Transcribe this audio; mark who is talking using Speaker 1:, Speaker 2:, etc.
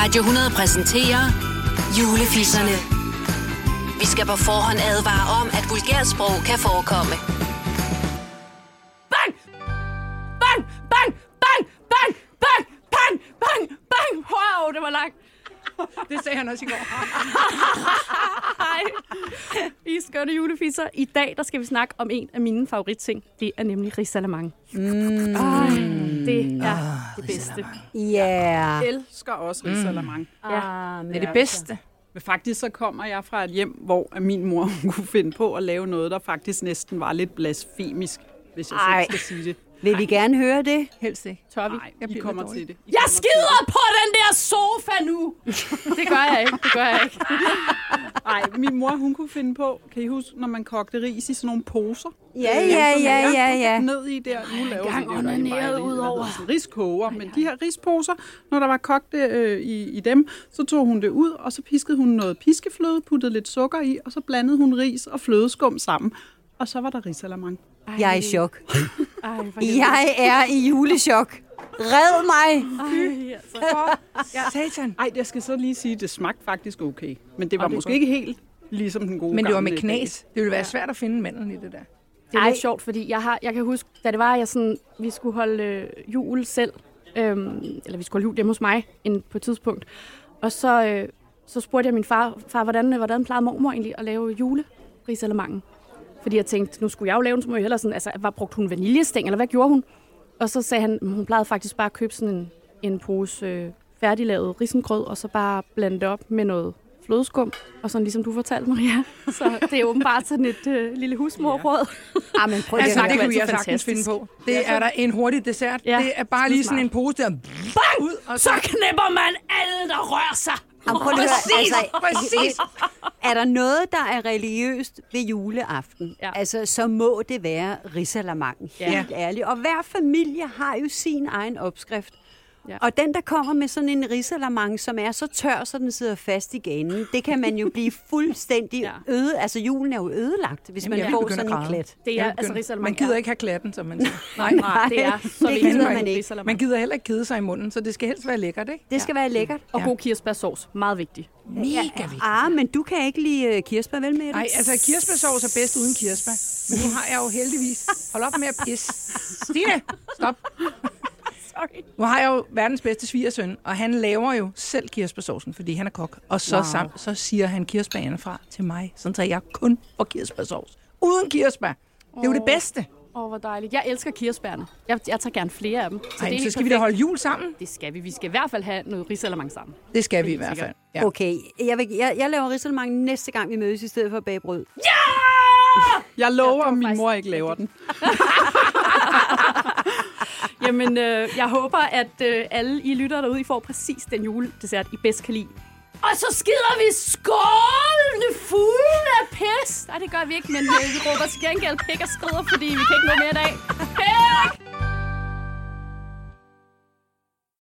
Speaker 1: Radio 100 præsenterer Julefisserne. Vi skal på forhånd advare om, at vulgært sprog kan forekomme.
Speaker 2: Bang! Bang! Bang! Bang! Bang! Bang! Bang! Bang! Bang! Wow, det var langt. Det sagde han også i går.
Speaker 3: Hej. I er skønne julefisser. I dag der skal vi snakke om en af mine favoritting. Det er nemlig risalamande. Mm. Ej, det er det bedste.
Speaker 4: Yeah.
Speaker 2: Jeg elsker også risalamande.
Speaker 3: Mm.
Speaker 4: Ah,
Speaker 5: Det er det bedste.
Speaker 2: Men faktisk så kommer jeg fra et hjem, hvor at min mor hun kunne finde på at lave noget, der faktisk næsten var lidt blasfemisk, hvis jeg
Speaker 4: Ej.
Speaker 2: selv skal sige det.
Speaker 4: Vil vi gerne høre det?
Speaker 5: Helst ikke.
Speaker 3: Tør vi?
Speaker 2: Nej, I kommer til det. I
Speaker 3: Jeg
Speaker 2: kommer
Speaker 3: skider på den der sofa nu! Det gør jeg ikke, det gør jeg ikke.
Speaker 2: Nej, min mor, hun kunne finde på, kan I huske, når man kogte ris i sådan nogle poser?
Speaker 4: Ja, ja, ja, ja, ja.
Speaker 2: Ned i der, nu laver
Speaker 3: engang
Speaker 2: vi det jo egentlig
Speaker 3: onaneret
Speaker 2: bare i-
Speaker 3: ud
Speaker 2: hvad
Speaker 3: over.
Speaker 2: hedder sådan Riskoger, men de her risposer, når der var kogt øh, i, i dem, så tog hun det ud, og så piskede hun noget piskefløde, puttede lidt sukker i, og så blandede hun ris og flødeskum sammen. Og så var der risalamande.
Speaker 4: Jeg er i chok.
Speaker 3: Ej, for
Speaker 4: Jeg er i julechok. Red mig.
Speaker 3: helvede. Ej, altså.
Speaker 5: Ja. Satan.
Speaker 2: Ej, jeg skal så lige sige, at det smagte faktisk okay. Men det var måske ikke helt ligesom den gode
Speaker 5: Men det var med
Speaker 2: gamle
Speaker 5: knas. Det ville være svært at finde mandlen i det der.
Speaker 3: Det er lidt sjovt, fordi jeg, har, jeg kan huske, da det var, jeg sådan, vi skulle holde øh, jul selv, øhm, eller vi skulle holde jul hjemme hos mig en, på et tidspunkt, og så, øh, så spurgge jeg min far, far hvordan, øh, hvordan plejede mormor egentlig at lave julerisalemanden? Fordi jeg tænkte, nu skulle jeg jo lave den, så må jeg hellere sådan, altså, hvad brugte hun vaniljestæng, eller hvad gjorde hun? Og så sagde han, "Men hun plejede faktisk bare at købe sådan en, en pose øh, færdiglavet risengrød, og så bare blande det op med noget flødeskum, og sådan ligesom du fortalte, Maria. Så det er åbenbart sådan et øh, lille husmorråd.
Speaker 4: Ah, men prøv
Speaker 5: Altså,
Speaker 4: lige at
Speaker 5: det
Speaker 4: høre.
Speaker 5: kunne jeg
Speaker 3: altid
Speaker 5: sagtens finde
Speaker 3: fantastisk.
Speaker 5: på. Det er der en hurtig dessert.
Speaker 3: Ja,
Speaker 5: Det er bare lige sådan en pose der. Bang! Ud, og så,
Speaker 3: så knipper man alle, der rører sig.
Speaker 4: Ah, prøv lige at høre.
Speaker 5: præcis,
Speaker 4: Altså,
Speaker 5: præcis.
Speaker 4: er der noget, der er religiøst ved juleaften,
Speaker 3: Ja.
Speaker 4: altså, så må det være risalamangen,
Speaker 3: Ja.
Speaker 4: helt ærligt. Og hver familie har jo sin egen opskrift.
Speaker 3: Ja.
Speaker 4: Ja. Og den, der kommer med sådan en risalamande, som er så tør, så den sidder fast i ganen, det kan man jo blive fuldstændig
Speaker 3: Ja.
Speaker 4: øde. Altså, julen er jo ødelagt, hvis
Speaker 5: Jamen, jeg
Speaker 4: man
Speaker 5: vil
Speaker 4: får
Speaker 5: begynde
Speaker 4: sådan
Speaker 5: at
Speaker 4: en
Speaker 5: græde.
Speaker 4: klat.
Speaker 3: Det
Speaker 5: Jeg
Speaker 3: er
Speaker 5: begynder-
Speaker 3: altså risalemang.
Speaker 5: Man gider ikke have klatten, som man siger. Nej,
Speaker 3: Nej, det er så
Speaker 4: det
Speaker 3: vigtigt.
Speaker 4: gider
Speaker 3: med
Speaker 4: man ikke.
Speaker 3: risalemang.
Speaker 5: man gider heller ikke kede sig i munden, så det skal helst være lækkert, ikke?
Speaker 4: Det skal være lækkert.
Speaker 3: Og god kirsebærsovs. Meget vigtigt.
Speaker 5: Mega vigtigt.
Speaker 4: Ah, men du kan ikke lide øh, kirsebær, vel med
Speaker 5: Nej, altså kirsebærsovs er bedst uden kirsebær. Men nu har jeg jo heldigvis... Hold op med at pisse. Stine, stop.
Speaker 3: Sorry.
Speaker 5: Nu har jeg jo verdens bedste svigersøn, og han laver jo selv kirsebærsovsen, fordi han er kok. Og så, wow. sam, så siger han kirsebærerne fra til mig, sådan så jeg kun får kirsebærsovs. Uden kirsebær. Det er jo det bedste.
Speaker 3: Åh, oh, hvor dejligt. Jeg elsker kirsebærne. Jeg, jeg tager gerne flere af dem. Så,
Speaker 5: Ej,
Speaker 3: det er
Speaker 5: så
Speaker 3: helt
Speaker 5: skal vi da
Speaker 3: perfekt.
Speaker 5: holde jul sammen.
Speaker 3: Det skal vi. Vi skal i hvert fald have noget risalemang sammen.
Speaker 5: Det skal vi i
Speaker 3: helt
Speaker 5: hvert fald.
Speaker 3: sikkert.
Speaker 5: Ja.
Speaker 4: Okay, jeg, vil, jeg, jeg laver risalamangen næste gang, vi mødes, i stedet for at bage brød.
Speaker 2: dage. Jeg lover, at min
Speaker 3: faktisk
Speaker 2: mor ikke laver den.
Speaker 3: Jamen, øh, jeg håber, at øh, alle I lytter derude, I får præcis den juledessert, I bedst kan lide. Og så skider vi skålene fulde af pis. Nej, det gør vi ikke, men øh, vi råber til gengæld pæk og skrider, fordi vi kan ikke nå mere i dag. Pæk!